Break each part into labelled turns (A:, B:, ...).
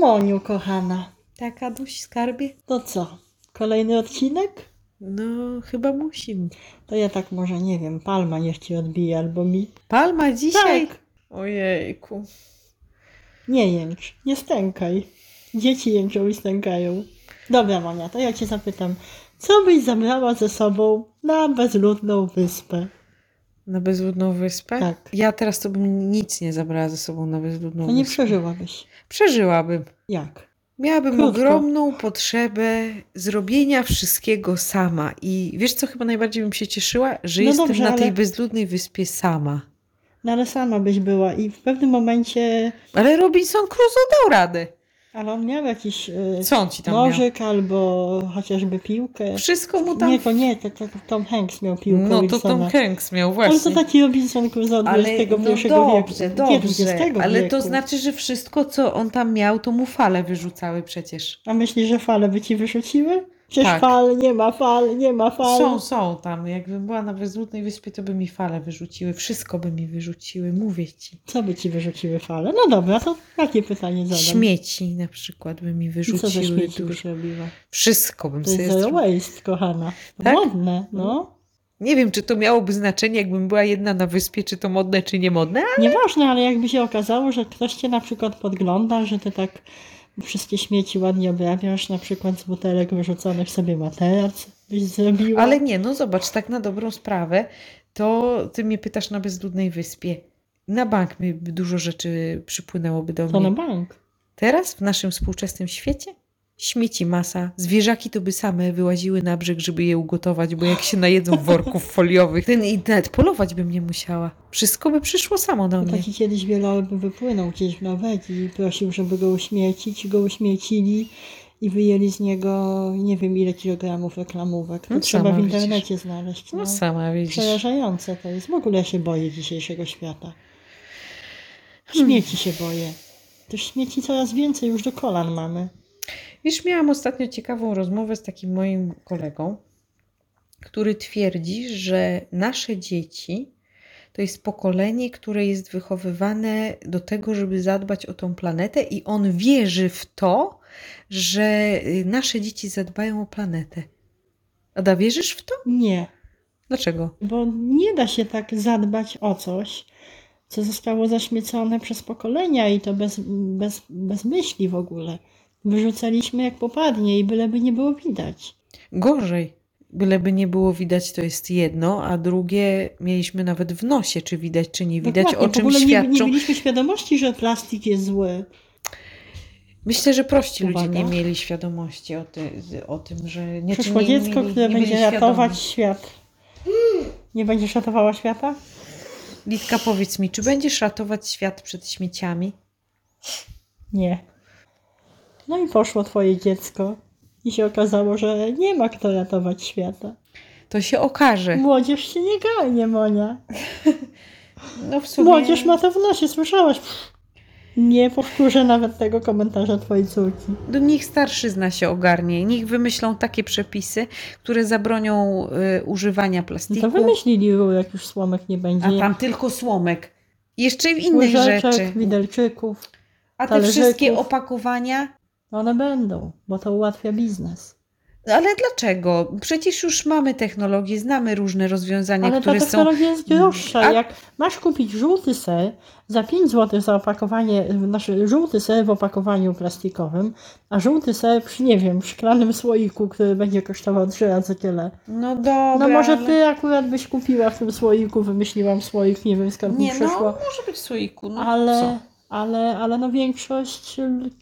A: Moniu, kochana,
B: Tak, Aduś, skarbie?
A: to co? Kolejny odcinek?
B: No, chyba musi.
A: To ja tak może, nie wiem, palma niech ci odbije albo mi.
B: Palma dzisiaj?
A: Tak,
B: Ojejku.
A: nie jęcz, nie stękaj. Dzieci jęczą i stękają. Dobra, Monia, to ja cię zapytam. Co byś zabrała ze sobą na bezludną wyspę?
B: Na bezludną wyspę?
A: Tak.
B: Ja teraz to bym nic nie zabrała ze sobą na bezludną
A: To No nie
B: wyspę.
A: przeżyłabyś.
B: Przeżyłabym.
A: Jak?
B: Miałabym
A: Krótko.
B: ogromną potrzebę zrobienia wszystkiego sama. I wiesz, co chyba najbardziej bym się cieszyła? Że
A: No
B: jestem
A: dobrze,
B: na tej
A: ale-
B: bezludnej wyspie sama.
A: No ale sama byś była i w pewnym momencie,
B: Ale Robinson Crusoe dał radę.
A: ale on miał jakiś y,
B: Co on ci tam miał?
A: nożyk albo chociażby piłkę.
B: Wszystko mu tam...
A: Nie, to nie, to, to Tom Hanks miał piłkę
B: no to
A: Wilsona.
B: Tom Hanks miał właśnie.
A: Ale to tak taki Robinson Crusoe XXI
B: no
A: wieku.
B: dobrze, dobrze,
A: XXI wieku.
B: ale to znaczy, że wszystko, co on tam miał, to mu fale wyrzucały przecież.
A: A myślisz, że fale by ci wyrzuciły? Przecież
B: Tak.
A: fal, nie ma fal, nie ma fal.
B: Są, są tam. Jakbym była na bezludnej wyspie, to by mi fale wyrzuciły. Wszystko by mi wyrzuciły, mówię ci.
A: Co by ci wyrzuciły fale? No dobra, to takie pytanie zadam.
B: Śmieci na przykład by mi
A: I Co ze
B: wyrzuciły
A: śmieci byś
B: dużo.
A: robiła?
B: Wszystko bym
A: To
B: sobie
A: jest zero
B: zrobiła.
A: waste, kochana.
B: Tak?
A: Modne, no.
B: Nie wiem, czy to miałoby znaczenie, jakbym była jedna na wyspie, czy to modne, czy niemodne. a-
A: Nieważne, ale jakby się okazało, że ktoś cię na przykład podgląda, że ty tak wszystkie śmieci ładnie obrabiasz, na przykład z butelek wyrzuconych sobie materac byś zrobiła.
B: Ale nie, no zobacz, tak na dobrą sprawę, to ty mnie pytasz na bezludnej wyspie. Na bank mi by dużo rzeczy przypłynęłoby do
A: To
B: mnie.
A: na bank.
B: Teraz w naszym współczesnym świecie śmieci masa, zwierzaki to by same wyłaziły na brzeg, żeby je ugotować, bo jak się najedzą worków foliowych, ten i nawet polować bym nie musiała. Wszystko by przyszło samo do
A: No
B: mnie.
A: Taki kiedyś wielolud wypłynął gdzieś w Norwegii i prosił, żeby go uśmiercić. Go uśmiercili i wyjęli z niego nie wiem ile kilogramów reklamówek. To
B: No,
A: trzeba
B: sama
A: w
B: widzisz.
A: internecie znaleźć. No.
B: No sama widzisz.
A: Przerażające to jest. W ogóle ja się boję dzisiejszego świata. Śmieci się boję. Tych śmieci coraz więcej, już do kolan mamy.
B: Wiesz, miałam ostatnio ciekawą rozmowę z takim moim kolegą, który twierdzi, że nasze dzieci to jest pokolenie, które jest wychowywane do tego, żeby zadbać o tą planetę, i on wierzy w to, że y, nasze dzieci zadbają o planetę. Ada, wierzysz w to?
A: Nie,
B: Dlaczego?
A: bo nie da się tak zadbać o coś, co zostało zaśmiecone przez pokolenia i to bez, bez, bez myśli w ogóle. Wyrzucaliśmy jak popadnie i byleby nie było widać.
B: Gorzej. Byleby nie było widać, to jest jedno, a drugie mieliśmy nawet w nosie, czy widać, czy nie widać,
A: Dokładnie,
B: o czym
A: w ogóle nie, nie
B: świadczą.
A: mieliśmy świadomości, że plastik jest zły.
B: Myślę, że prości ludzie
A: Uwaga.
B: nie mieli świadomości o, ty, o tym, że nie
A: no. Przyszło
B: nie,
A: dziecko,
B: mieli-
A: które
B: nie
A: będzie
B: mieli
A: ratować
B: świadomości.
A: świat. Nie będziesz ratowała świata?
B: Litka, powiedz mi, czy będziesz ratować świat przed śmieciami?
A: Nie. No i poszło twoje dziecko. I się okazało, że nie ma kto ratować świata.
B: To się okaże.
A: Młodzież się nie ganie, Monia.
B: No w sumie.
A: Młodzież ma to w nosie, słyszałaś? Nie powtórzę nawet tego komentarza twojej córki.
B: No, niech starszyzna się ogarnie. Niech wymyślą takie przepisy, które zabronią y, używania
A: No
B: plastiku.
A: to wymyślili rurek, jak już słomek nie będzie.
B: a tam tylko słomek. Jeszcze i innych rzeczy.
A: Łyżeczek, widelczyków.
B: A te
A: talerzyków.
B: wszystkie opakowania
A: No One będą, bo to ułatwia biznes.
B: No Ale dlaczego? Przecież już mamy technologię, znamy różne rozwiązania,
A: Ale ta
B: które są.
A: technologia jest droższa.
B: A-
A: Jak masz kupić żółty ser za 5 zł za opakowanie, znaczy żółty ser w opakowaniu plastikowym, a żółty ser przy, nie wiem, w szklanym słoiku, który będzie kosztował 3 razy tyle.
B: No dobra.
A: no może
B: ale-
A: ty akurat byś kupiła w tym słoiku, wymyśliłam słoik, nie wiem skąd mi
B: Nie, no,
A: przyszło.
B: może być słoiku. No,
A: ale,
B: co?
A: ale, ale no większość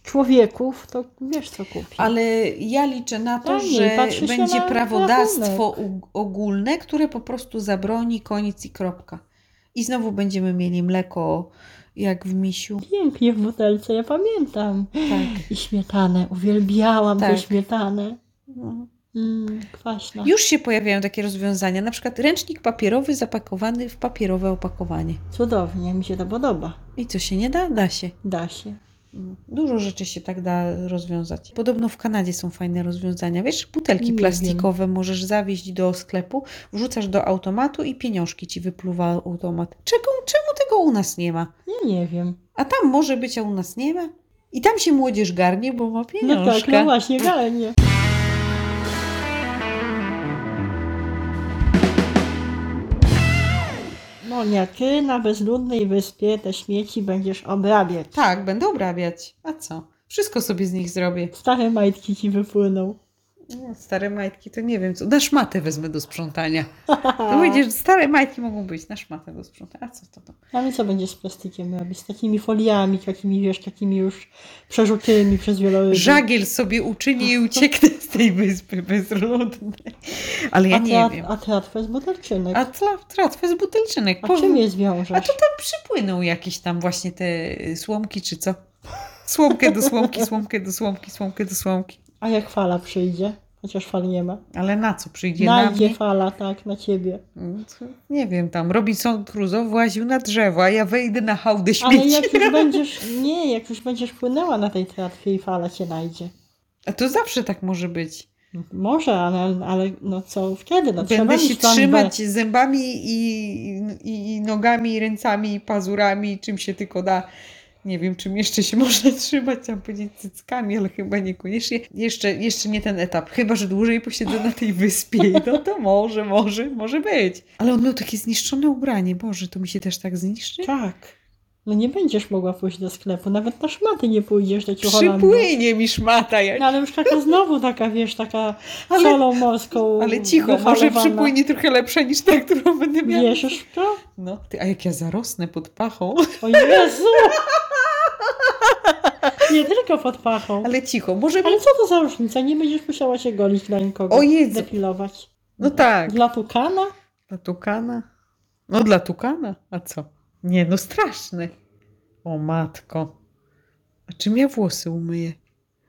A: człowieków to wiesz co kupi.
B: ale ja liczę na to,
A: Taniej,
B: że
A: patrzy się
B: będzie
A: na
B: prawodawstwo u- ogólne, które po prostu zabroni koniec i kropka. I znowu będziemy mieli mleko jak w misiu.
A: Pięknie w butelce, ja pamiętam.
B: Tak.
A: I śmietanę, uwielbiałam tę
B: Tak.
A: śmietanę.
B: No.
A: Mm, kwaśna.
B: Już się pojawiają takie rozwiązania, na przykład ręcznik papierowy zapakowany w papierowe opakowanie.
A: Cudownie, mi się to podoba.
B: I co się nie da? Da się.
A: Da się.
B: Dużo rzeczy się tak da rozwiązać. Podobno w Kanadzie są fajne rozwiązania. Wiesz, butelki
A: Nie
B: plastikowe możesz zawieźć do sklepu, wrzucasz do automatu i pieniążki ci wypluwa automat. Czego, czemu tego u nas nie ma?
A: Ja nie wiem.
B: A tam może być, a u nas nie ma? I tam się młodzież garnie, bo ma
A: No tak,
B: pieniążka.
A: no właśnie, realnie. Monia, No ty na bezludnej wyspie te śmieci będziesz obrabiać.
B: tak, będę obrabiać. A co? Wszystko sobie z nich zrobię.
A: Stare majtki ci wypłyną.
B: No, Stare majtki to nie wiem co. Na szmatę wezmę do sprzątania. No widzisz, stare majtki mogą być na szmatę do sprzątania. A co to? to?
A: A my co będziesz z plastikiem robić? Z takimi foliami, takimi wiesz, takimi już przerzutymi przez wieloryby.
B: Żagiel sobie uczyni i ucieknę z tej wyspy bezludnej. Ale ja
A: a
B: nie
A: trat-
B: wiem.
A: A tratwę z butelczynek.
B: A
A: A,
B: tra- tratwę z butelczynek.
A: a czym
B: Powiem,
A: je zwiążesz?
B: A to tam przypłyną jakieś tam właśnie te y, słomki czy co? Słomkę do słomki, słomkę do słomki, słomkę do słomki.
A: A jak fala przyjdzie? Chociaż fal nie ma.
B: Ale na co przyjdzie? Na
A: Najdzie
B: mnie?
A: fala, tak, na ciebie.
B: No to Nie wiem, tam Robinson Crusoe właził na drzewo, a ja wejdę na hałdę
A: Ale
B: śmieci.
A: jak już będziesz, nie, jak już będziesz płynęła na tej tratwie i fala cię najdzie.
B: A to zawsze tak może być.
A: Może, ale, ale no co wtedy? No, trzeba
B: Będę się
A: mieć plan B.
B: trzymać zębami i, i, i nogami, i ręcami, i pazurami, i czym się tylko da. Nie wiem, czym jeszcze się można trzymać, chciałam powiedzieć cyckami, ale chyba niekoniecznie. Jeszcze, jeszcze nie ten etap. Chyba, że dłużej posiedzę na tej wyspie. No to może, może, może być. Ale on miał takie zniszczone ubranie. Boże, to mi się też tak zniszczy?
A: Tak. No nie będziesz mogła pójść do sklepu, nawet na szmaty nie pójdziesz do ciucholandu.
B: Przypłynie mi szmata. Jak...
A: No ale już taka znowu taka, wiesz, taka
B: Ale-
A: solą morską
B: Ale cicho, może
A: befalowana.
B: przypłynie trochę lepsza niż ta, którą będę miała.
A: Wierzysz w to?
B: No, ty, a jak ja zarosnę pod pachą?
A: O Jezu! Nie tylko pod pachą.
B: Ale cicho, może
A: Ale co to za różnica? Nie będziesz musiała się golić dla nikogo.
B: O Jezu.
A: Depilować.
B: No tak.
A: Dla tukana?
B: Dla tukana? No dla tukana, a co? Nie, no straszny. O matko. A czym ja włosy umyję?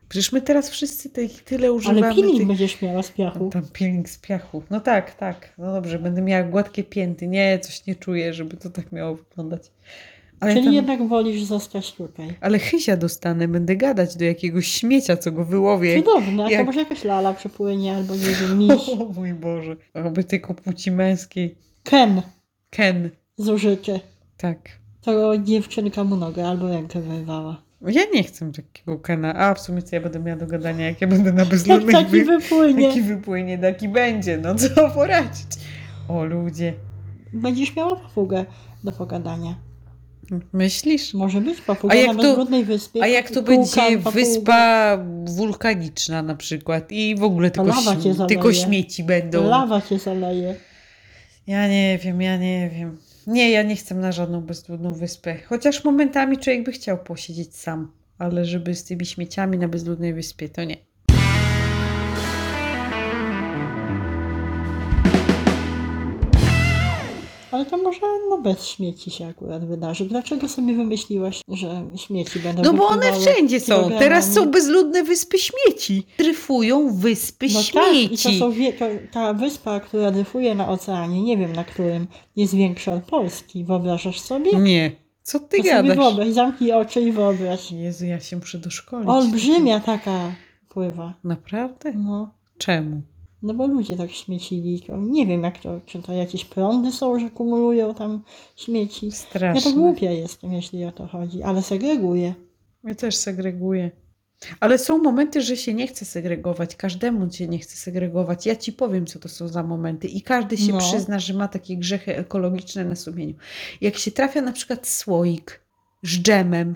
B: Przecież my teraz wszyscy tych tyle używamy.
A: Ale peeling
B: tych-
A: będziesz miała z piachu.
B: Tam peeling z piachu. No tak, tak. No dobrze, będę miała gładkie pięty. Nie, coś nie czuję, żeby to tak miało wyglądać. Ale,
A: Czyli
B: tam...
A: jednak wolisz zostać tutaj.
B: Ale chysia dostanę, będę gadać do jakiegoś śmiecia, co go wyłowię.
A: Cudowne, a to
B: jak-
A: może jakaś lala przepłynie albo nie wiem, miś.
B: O mój Boże. Oby tylko płci męskiej.
A: Ken
B: Ken.
A: zużyty.
B: Tak.
A: To dziewczynka mu nogę albo rękę wyrwała.
B: Ja nie chcę takiego Kena. A w sumie co ja będę miała do gadania, jak ja będę na
A: Jak
B: bezludnych
A: taki
B: wy...
A: wypłynie.
B: Taki wypłynie, taki będzie. No co poradzić? O ludzie.
A: Będziesz miała papugę do pogadania.
B: Myślisz?
A: Może być papuga
B: A jak
A: na
B: to-
A: bezbrudnej wyspie.
B: A jak to
A: Kółka,
B: będzie
A: papuga.
B: wyspa wulkaniczna na przykład i w ogóle tylko,
A: lawa cię
B: śm-
A: zaleje.
B: tylko śmieci będą?
A: Lawa cię zaleje.
B: Ja nie wiem, ja nie wiem. Nie, ja nie chcę na żadną bezludną wyspę. Chociaż momentami człowiek by chciał posiedzieć sam, ale żeby z tymi śmieciami na bezludnej wyspie, to nie.
A: Ale to może no bez śmieci się akurat wydarzy. Dlaczego sobie wymyśliłaś, że śmieci będą
B: No bo one
A: wypływały
B: wszędzie są.
A: kilogramami?
B: Teraz są bezludne wyspy śmieci. Dryfują wyspy
A: No tak, i to
B: śmieci.
A: są, wie- to, ta wyspa, która dryfuje na oceanie, nie wiem na którym, jest większa od Polski. Wyobrażasz sobie?
B: Nie. Co ty
A: to sobie
B: gadasz?
A: wyobraź, zamknij oczy i wyobraź.
B: Jezu, ja się muszę doszkolić.
A: Olbrzymia taka pływa.
B: Naprawdę?
A: No,
B: Czemu?
A: no bo ludzie tak śmiecili. To Nie wiem, jak to, czy to jakieś prądy są, że kumulują tam śmieci. Ja to
B: Straszne.
A: głupia jestem, jeśli o to chodzi, ale segreguję.
B: Ja też segreguję. Ale są momenty, że się nie chce segregować. Każdemu się nie chce segregować. Ja ci powiem, co to są za momenty. I każdy się
A: No.
B: przyzna, że ma takie grzechy ekologiczne na sumieniu. Jak się trafia na przykład słoik z dżemem,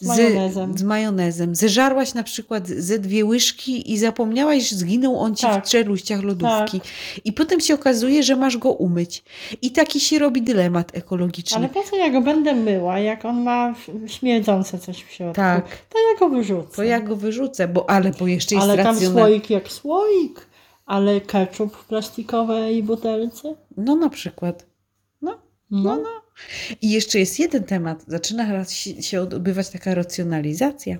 A: Z majonezem.
B: Z, majonezem. Zeżarłaś na przykład ze dwie łyżki i zapomniałaś, że zginął on ci
A: Tak.
B: w czeluściach lodówki. I potem się okazuje, że masz go umyć. I taki się robi dylemat ekologiczny.
A: Ale po co ja go będę myła, jak on ma w- śmierdzące coś w środku?
B: Tak.
A: To ja go wyrzucę.
B: To ja go wyrzucę, bo ale bo jeszcze jest
A: Ale tam
B: racjonalny.
A: słoik jak słoik, ale ketchup w plastikowej butelce.
B: No na przykład.
A: No,
B: No, I jeszcze jest jeden temat. Zaczyna raz si- się odbywać taka racjonalizacja.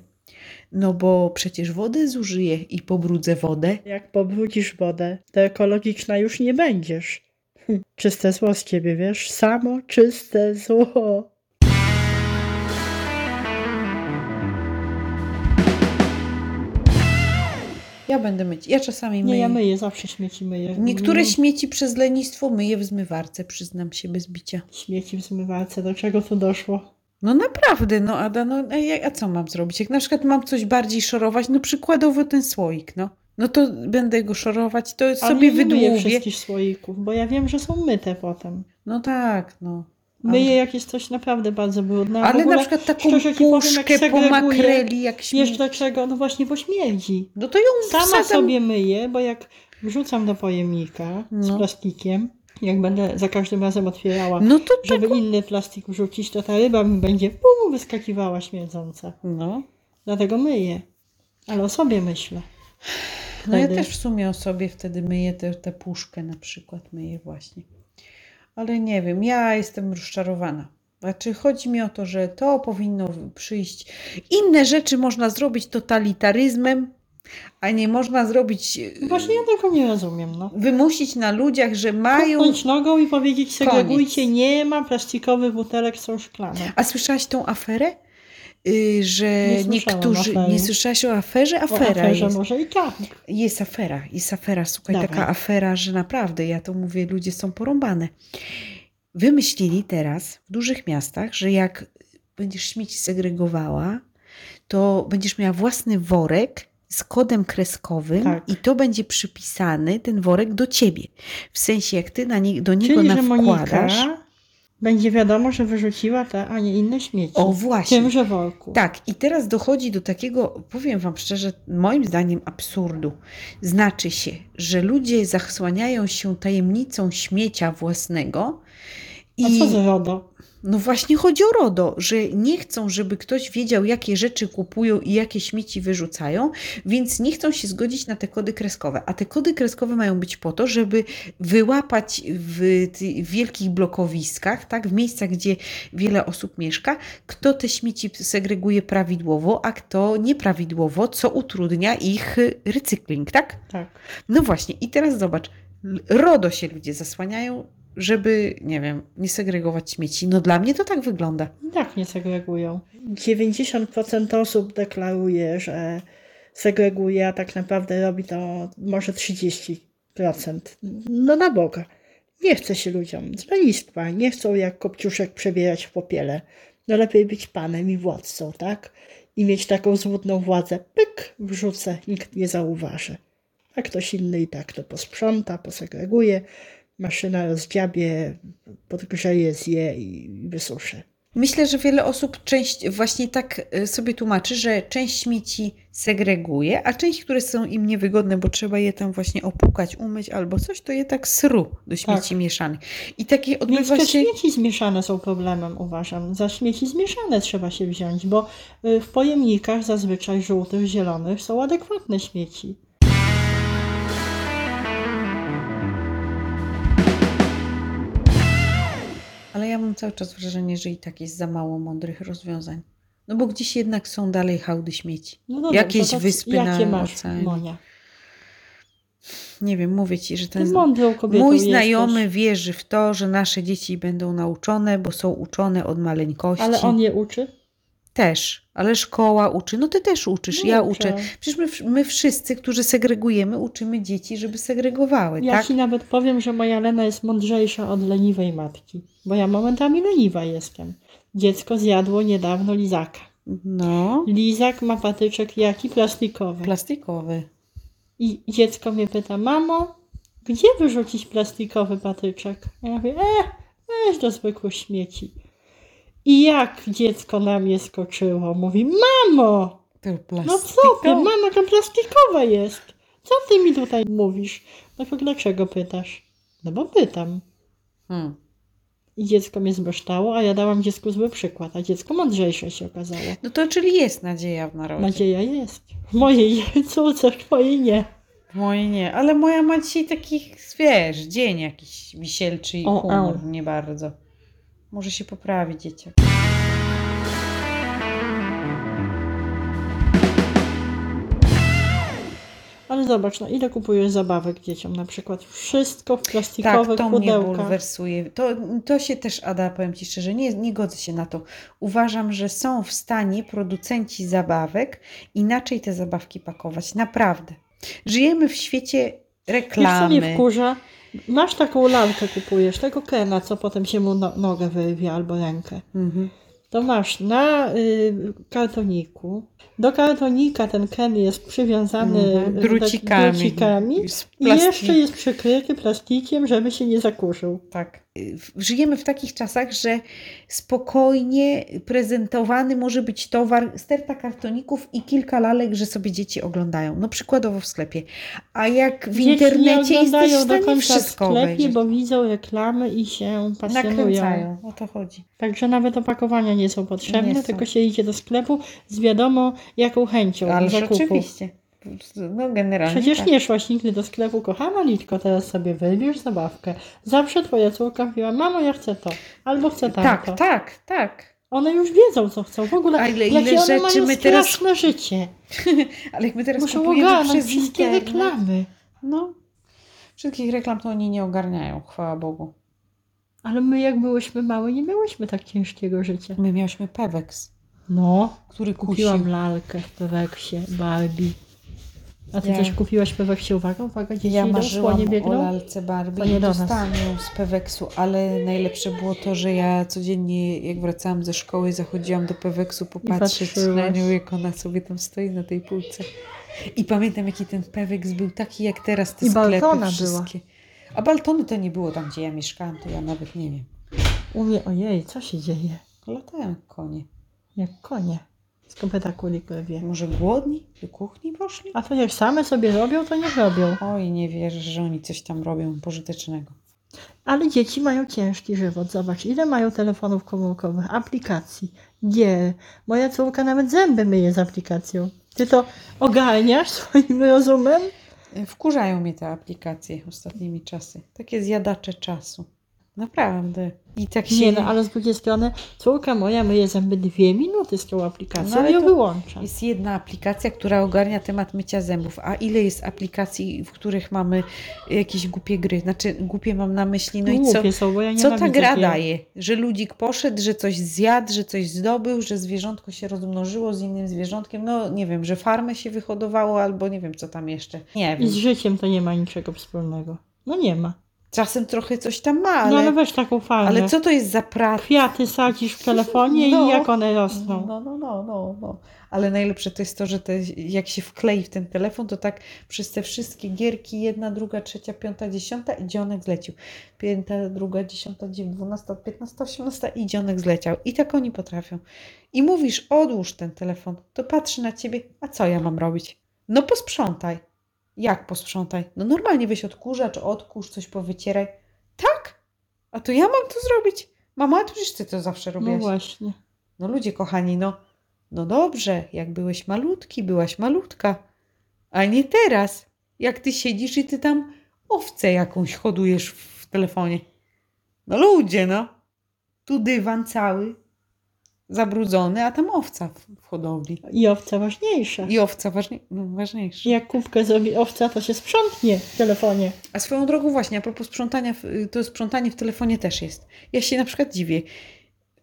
B: No bo przecież wodę zużyję i pobrudzę wodę.
A: Jak pobrudzisz wodę, to ekologiczna już nie będziesz. Hm, Czyste zło z ciebie, wiesz? Samo czyste zło.
B: Ja będę myć. Ja czasami myję.
A: Nie, ja myję, zawsze śmieci myję.
B: Niektóre
A: Mm,
B: śmieci przez lenistwo myję w zmywarce, przyznam się bez bicia.
A: śmieci w zmywarce, do czego tu doszło?
B: No naprawdę, no Ada, no a, ja- a co mam zrobić? Jak na przykład mam coś bardziej szorować, no przykładowo ten słoik, no. No to będę go szorować, to
A: Ale
B: sobie
A: nie myję
B: wydłubię.
A: wszystkich słoików, bo ja wiem, że są myte potem.
B: No tak, no.
A: Myję jakieś coś naprawdę bardzo brudne. a w
B: Ale
A: ogóle
B: na przykład taką
A: szczerze ci powiem, jak
B: puszkę po
A: segreguję,
B: makreli, jak
A: Wiesz
B: śmiesz...
A: dlaczego? No właśnie, bo śmierdzi.
B: No to ją
A: Sama
B: wsadzam.
A: sobie myję, bo jak wrzucam do pojemnika z
B: No.
A: plastikiem, jak będę za każdym razem otwierała,
B: No to tak.
A: żeby inny plastik wrzucić, to ta ryba mi będzie pum, wyskakiwała śmierdząca.
B: No.
A: Dlatego myję. Ale o sobie myślę.
B: No ja
A: Wtedy.
B: też w sumie o sobie wtedy myję tę tę puszkę na przykład, myję właśnie. Ale nie wiem, ja jestem rozczarowana. Znaczy chodzi mi o to, że to powinno przyjść. Inne rzeczy można zrobić totalitaryzmem, a nie można zrobić,
A: No
B: yy,
A: Właśnie ja tego nie rozumiem, no.
B: wymusić na ludziach, że mają...
A: Kopnąć nogą i powiedzieć segregujcie, nie ma plastikowych butelek, są szklane.
B: A słyszałaś tą aferę? Yy, że
A: Nie słyszałam
B: niektórzy...
A: afery.
B: Nie słyszałaś o aferze?
A: O
B: Afera
A: aferze
B: jest.
A: może i tak.
B: Jest afera, jest afera, słuchaj,
A: Dawaj.
B: taka afera, że naprawdę, ja to mówię, ludzie są porąbane. Wymyślili teraz w dużych miastach, że jak będziesz śmieci segregowała, to będziesz miała własny worek z kodem kreskowym
A: Tak.
B: i to będzie przypisany, ten worek, do ciebie. W sensie, jak ty na nie, do niego
A: Czyli, że
B: nawkładasz...
A: Monika będzie wiadomo, że wyrzuciła te, a nie inne śmieci.
B: o
A: w
B: właśnie.
A: tymże worku.
B: Tak, i teraz dochodzi do takiego, powiem Wam szczerze, moim zdaniem absurdu. Znaczy się, że ludzie zasłaniają się tajemnicą śmiecia własnego. I
A: A co za RODO?
B: no właśnie chodzi o RODO, że nie chcą, żeby ktoś wiedział, jakie rzeczy kupują i jakie śmieci wyrzucają, więc nie chcą się zgodzić na te kody kreskowe. A te kody kreskowe mają być po to, żeby wyłapać w ty- w wielkich blokowiskach, tak, w miejscach, gdzie wiele osób mieszka, kto te śmieci segreguje prawidłowo, a kto nieprawidłowo, co utrudnia ich y, recykling, tak?
A: Tak.
B: No właśnie, i teraz zobacz, l- RODO się ludzie zasłaniają, żeby, nie wiem, nie segregować śmieci. No dla mnie to tak wygląda.
A: I tak nie segregują. 90% osób deklaruje, że segreguje, a tak naprawdę robi to może 30%. No na Boga. Nie chce się ludziom z lenistwa, nie chcą jak kopciuszek przebierać w popiele. No lepiej być panem i władcą, tak? I mieć taką złudną władzę. Pyk, wrzucę, nikt nie zauważy. A ktoś inny i tak to posprząta, posegreguje, maszyna rozdziabie, podgrzeje, zje i i wysuszy.
B: Myślę, że wiele osób część właśnie tak y, sobie tłumaczy, że część śmieci segreguje, a część, które są im niewygodne, bo trzeba je tam właśnie opłukać, umyć albo coś, to je tak sru do śmieci mieszanych. I takie
A: Więc
B: odbywa
A: te
B: się...
A: śmieci zmieszane są problemem, uważam. Za śmieci zmieszane trzeba się wziąć, bo y, w pojemnikach zazwyczaj żółtych, zielonych są adekwatne śmieci.
B: Ale ja mam cały czas wrażenie, że i tak jest za mało mądrych rozwiązań. No bo gdzieś jednak są dalej hałdy śmieci.
A: No dobrze,
B: Jakieś
A: to
B: wyspy
A: jakie
B: na
A: masz,
B: oceanie.
A: Monia?
B: Nie wiem, mówię ci, że
A: Ty
B: ten...
A: mądrą kobietą
B: Mój
A: jesteś,
B: znajomy wierzy w to, że nasze dzieci będą nauczone, bo są uczone od maleńkości.
A: Ale on je uczy?
B: Też, ale szkoła uczy. No ty też uczysz, ja uczę.
A: Uczę.
B: Przecież my, w- my wszyscy, którzy segregujemy, uczymy dzieci, żeby segregowały,
A: Ja
B: tak?
A: ci nawet powiem, że moja Lena jest mądrzejsza od leniwej matki, bo ja momentami leniwa jestem. Dziecko zjadło niedawno lizaka.
B: No,
A: Lizak ma patyczek jaki? Plastikowy.
B: plastikowy.
A: I dziecko mnie pyta, mamo, gdzie wyrzucić plastikowy patyczek? A ja mówię, e, weź do zwykłych śmieci. I jak dziecko na mnie skoczyło, mówi, mamo,
B: Ten
A: no co ty, mama to plastikowa jest. Co ty mi tutaj mówisz? No to dlaczego pytasz? No bo pytam.
B: Hmm.
A: I dziecko mnie zbeształo, a ja dałam dziecku zły przykład, a dziecko mądrzejsze się okazało.
B: No to czyli jest nadzieja w narodzie.
A: Nadzieja jest. W mojej córce, w twojej nie.
B: Moje nie, ale moja ma dzisiaj taki, wiesz, dzień jakiś wisielczy i
A: O,
B: humor,
A: au.
B: nie bardzo. Może się poprawi dzieciak.
A: Ale zobacz, no ile kupujesz zabawek dzieciom? Na przykład wszystko w
B: Tak,
A: plastikowych
B: to mnie
A: pudełkach.
B: bulwersuje. To, to się też, Ada, powiem Ci szczerze, nie, nie godzę się na to. Uważam, że są w stanie producenci zabawek inaczej te zabawki pakować. Naprawdę. Żyjemy w świecie
A: Wiesz, co mnie
B: reklamy.
A: wkurza? Masz taką lalkę, kupujesz, tego Kena, co potem się mu no- nogę wyrwie albo rękę.
B: Mhm.
A: to masz na y, kartoniku. Do kartonika ten ken jest przywiązany
B: Mhm,
A: y,
B: drucikami.
A: drucikami.
B: Z
A: I
B: plastiku.
A: jeszcze jest przykryty plastikiem, żeby się nie zakurzył.
B: Tak. Żyjemy w takich czasach, że spokojnie prezentowany może być towar, sterta kartoników i kilka lalek, że sobie dzieci oglądają. No przykładowo w sklepie. A jak w
A: Dzieci nie
B: internecie jesteś
A: oglądają
B: w
A: do
B: stanie
A: końca w
B: wszystko
A: sklepie,
B: obejrzeć.
A: bo widzą reklamy i się pasjonują.
B: Nakręcają, o to chodzi.
A: Także nawet opakowania nie są potrzebne,
B: Nie są.
A: tylko się idzie do sklepu z wiadomo jaką chęcią
B: Ależ
A: zakupu.
B: oczywiście. No generalnie
A: Przecież
B: tak.
A: nie szłaś nigdy do sklepu, kochana Litko, teraz sobie wybierz zabawkę. Zawsze twoja córka mówiła, mamo ja chcę to, albo chcę tamto.
B: Tak, tak, tak.
A: One już wiedzą co chcą. W ogóle
B: A ile-
A: jakie
B: ile
A: one
B: rzeczy
A: mają
B: my teraz-
A: straszne życie.
B: Ale jak my teraz
A: Muszą
B: kupujemy
A: ogarnąć
B: przez
A: wszystkie
B: internet,
A: reklamy.
B: No, wszystkich reklam to oni nie ogarniają, chwała Bogu.
A: Ale my jak byłyśmy małe, nie miałyśmy tak ciężkiego życia.
B: My miałyśmy Peweks,
A: No,
B: który kusił.
A: kupiłam lalkę w Peweksie, Barbie. A ty
B: Ja-
A: też kupiłaś w Peweksie, uwaga, uwaga, dzieci
B: Ja
A: idą,
B: marzyłam
A: słonie
B: o
A: biegną.
B: lalce Barbie
A: Panie
B: i
A: do nas.
B: dostałam ją z Peweksu, ale najlepsze było to, że ja codziennie, jak wracałam ze szkoły, zachodziłam do Peweksu popatrzeć na
A: patrzyłaś.
B: nią, jak ona sobie tam stoi na tej półce. I pamiętam, jaki ten Peweks był taki, jak teraz te
A: I
B: sklepy
A: Baltona była.
B: wszystkie. A Baltony to nie było tam, gdzie ja mieszkałam, to ja nawet nie wiem.
A: U mnie, ojej, co się dzieje?
B: Latają jak konie.
A: Jak konie. Z kopyta kuli wie.
B: Może głodni? Do kuchni poszli?
A: A to jak same sobie robią, to nie robią.
B: Oj, nie wierzę, że oni coś tam robią pożytecznego.
A: Ale dzieci mają ciężki żywot. Zobacz, ile mają telefonów komórkowych, aplikacji, gier. Moja córka nawet zęby myje z aplikacją. Ty to ogarniasz swoim rozumem?
B: Wkurzają mnie te aplikacje ostatnimi czasy. Takie zjadacze czasu. Naprawdę. I tak się...
A: Nie, no ale z drugiej strony córka moja myje zęby dwie minuty z tą aplikacją
B: No, ale
A: i ją
B: to
A: wyłącza.
B: Jest jedna aplikacja, która ogarnia temat mycia zębów. A ile jest aplikacji, w których mamy jakieś głupie gry? Znaczy, głupie mam na myśli, no i co,
A: Głupie są, bo ja
B: co ta
A: nienawidzę
B: gra
A: gier.
B: daje? Że ludzik poszedł, że coś zjadł, że coś zdobył, że zwierzątko się rozmnożyło z innym zwierzątkiem. No nie wiem, że farmę się wyhodowało albo nie wiem, co tam jeszcze. Nie
A: I
B: wiem.
A: z życiem to nie ma niczego wspólnego. No nie ma.
B: Czasem trochę coś tam ma, ale...
A: No ale weź taką falę.
B: Ale co to jest za praca?
A: Kwiaty sadzisz w telefonie
B: No.
A: i jak one rosną.
B: No, no, no, no, no. Ale najlepsze to jest to, że te, jak się wklei w ten telefon, to tak przez te wszystkie gierki, jedna, druga, trzecia, piąta, dziesiąta i dzionek zlecił. Pięta, druga, dziesiąta, dziew- dwunasta, piętnasta, osiemnasta i dzionek zleciał. I tak oni potrafią. I mówisz, odłóż ten telefon, to patrzy na ciebie, a co ja mam robić? No posprzątaj. Jak posprzątaj? No normalnie weź odkurzacz, odkurz, coś powycieraj. Tak? A to ja mam to zrobić? Mama, a to przecież ty to zawsze
A: No,
B: robiłaś.
A: właśnie.
B: No ludzie kochani, no, no dobrze, jak byłeś malutki, byłaś malutka, a nie teraz, jak ty siedzisz i ty tam owcę jakąś hodujesz w telefonie. No ludzie, no. Tu dywan cały zabrudzony, a tam owca w- w hodowli.
A: I owca ważniejsza.
B: I owca ważniej, no, ważniejsza.
A: Jak kubkę zrobi owca, to się sprzątnie w telefonie.
B: A swoją drogą właśnie, a propos sprzątania, w- y, to sprzątanie w telefonie też jest. Ja się na przykład dziwię.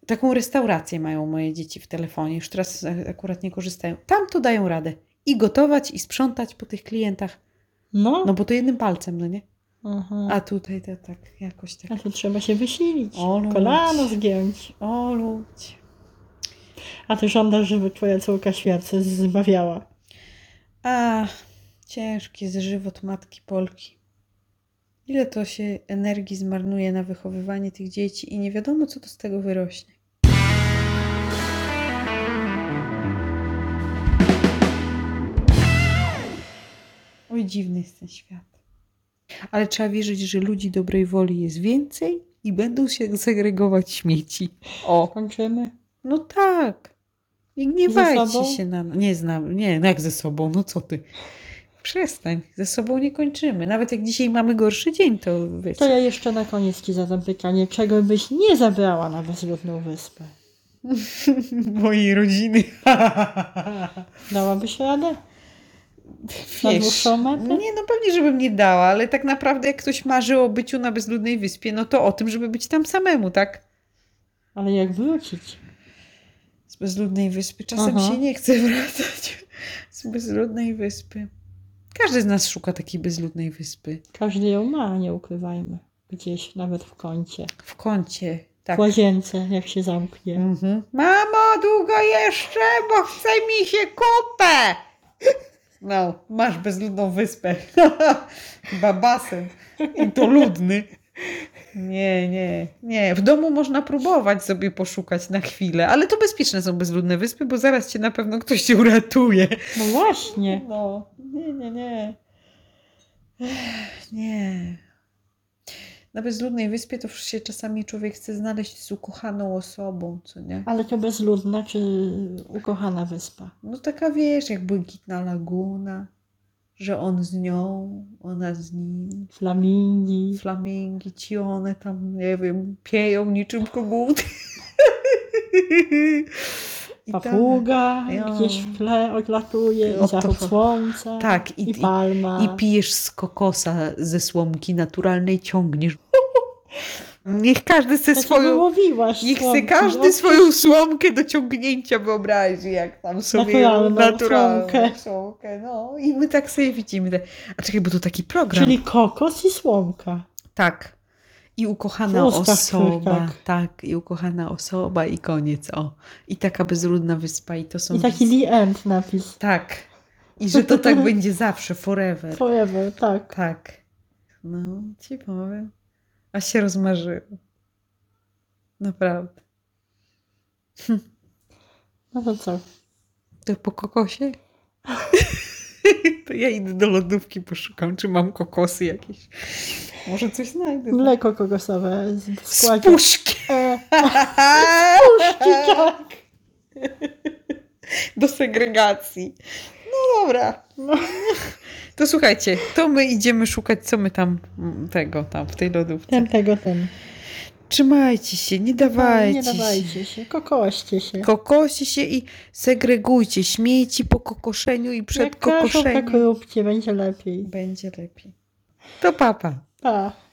B: Taką restaurację mają moje dzieci w telefonie, już teraz a- akurat nie korzystają. Tam to dają radę. I gotować, i sprzątać po tych klientach.
A: No.
B: No bo to jednym palcem, no nie?
A: Aha.
B: A tutaj to tak, jakoś tak.
A: A tu trzeba się wysilić.
B: O, no.
A: Kolano zgiąć.
B: O ludzie.
A: A ty żądasz, żeby twoja córka świat się zbawiała.
B: A, ciężki jest żywot matki Polki. Ile to się energii zmarnuje na wychowywanie tych dzieci i nie wiadomo, co to z tego wyrośnie. Oj, dziwny jest ten świat. Ale trzeba wierzyć, że ludzi dobrej woli jest więcej i będą się segregować śmieci. O!
A: Kończymy.
B: No tak. I gniewajcie
A: sobą?
B: się na. Nie znam. Nie, no jak ze sobą? No co ty? Przestań. Ze sobą nie kończymy. Nawet jak dzisiaj mamy gorszy dzień, to wiecie.
A: To ja jeszcze na koniec ci zadam pytanie. Czego byś nie zabrała na bezludną wyspę?
B: Mojej rodziny.
A: Dałabyś radę? Na
B: Wiesz,
A: dłuższą metę?
B: nie, no pewnie, żebym nie dała, ale tak naprawdę jak ktoś marzy o byciu na bezludnej wyspie, no to o tym, żeby być tam samemu, tak?
A: Ale jak wrócić?
B: Z bezludnej wyspy. Czasem
A: Aha.
B: się nie chce wracać z bezludnej wyspy. Każdy z nas szuka takiej bezludnej wyspy.
A: Każdy ją ma, nie ukrywajmy. Gdzieś, nawet w kącie.
B: w kącie, Tak.
A: w łazience, jak się zamknie.
B: Mhm. Mamo, długo jeszcze, bo chce mi się kupę! No, masz bezludną wyspę. Chyba basen. I to ludny. Nie, nie, nie. W domu można próbować sobie poszukać na chwilę, ale to bezpieczne są bezludne wyspy, bo zaraz cię na pewno ktoś cię uratuje.
A: No właśnie.
B: No, nie, nie, nie. Ech, Nie. Na bezludnej wyspie to już się czasami człowiek chce znaleźć z ukochaną osobą, co nie?
A: Ale to bezludna czy ukochana wyspa?
B: No taka wiesz, jak błękitna laguna, że on z nią, ona z nim.
A: Flamingi.
B: Flamingi ci one tam, nie wiem, pieją niczym koguty. I tam-
A: Papuga
B: Ja.
A: gdzieś w tle odlatuje,
B: O
A: i
B: to
A: zachód
B: chodzi.
A: słońca,
B: Tak, i,
A: i
B: i,
A: palma.
B: i pijesz z kokosa ze słomki naturalnej, ciągniesz. Niech każdy chce
A: To się
B: swoją...
A: wyłowiłaś
B: Niech chce
A: słomki,
B: każdy
A: no.
B: swoją słomkę do ciągnięcia wyobrazi, jak tam sobie ją-
A: Naturalną
B: naturalną
A: słomkę.
B: słomkę. No i my tak sobie widzimy. te- A czekaj, bo to taki program.
A: Czyli kokos i słomka.
B: Tak. I ukochana
A: W ustach
B: osoba.
A: twych,
B: Tak. i ukochana osoba i koniec. O. I taka bezludna wyspa i to są...
A: I taki the end napis.
B: Tak. I że to tak będzie zawsze, forever.
A: Forever, tak.
B: Tak. No, ci powiem. A się rozmarzyło. Naprawdę.
A: No to co?
B: To po kokosie? to ja idę do lodówki, poszukam, czy mam kokosy jakieś. Może coś znajdę.
A: Mleko kokosowe z- w
B: Z
A: składzie.
B: puszki!
A: E,
B: Puszki,
A: tak.
B: do segregacji. No dobra.
A: No.
B: To słuchajcie, to my idziemy szukać, co my tam mm, tego, tam w tej lodówce.
A: Ten tego, ten.
B: Trzymajcie się, nie dawajcie.
A: Nie dawajcie się, kokoście się.
B: Się. Kokoście się i segregujcie śmieci po kokoszeniu i przed
A: Jak każą, tak
B: kokoszeniem.
A: róbcie, będzie lepiej.
B: Będzie lepiej. To papa.
A: Pa.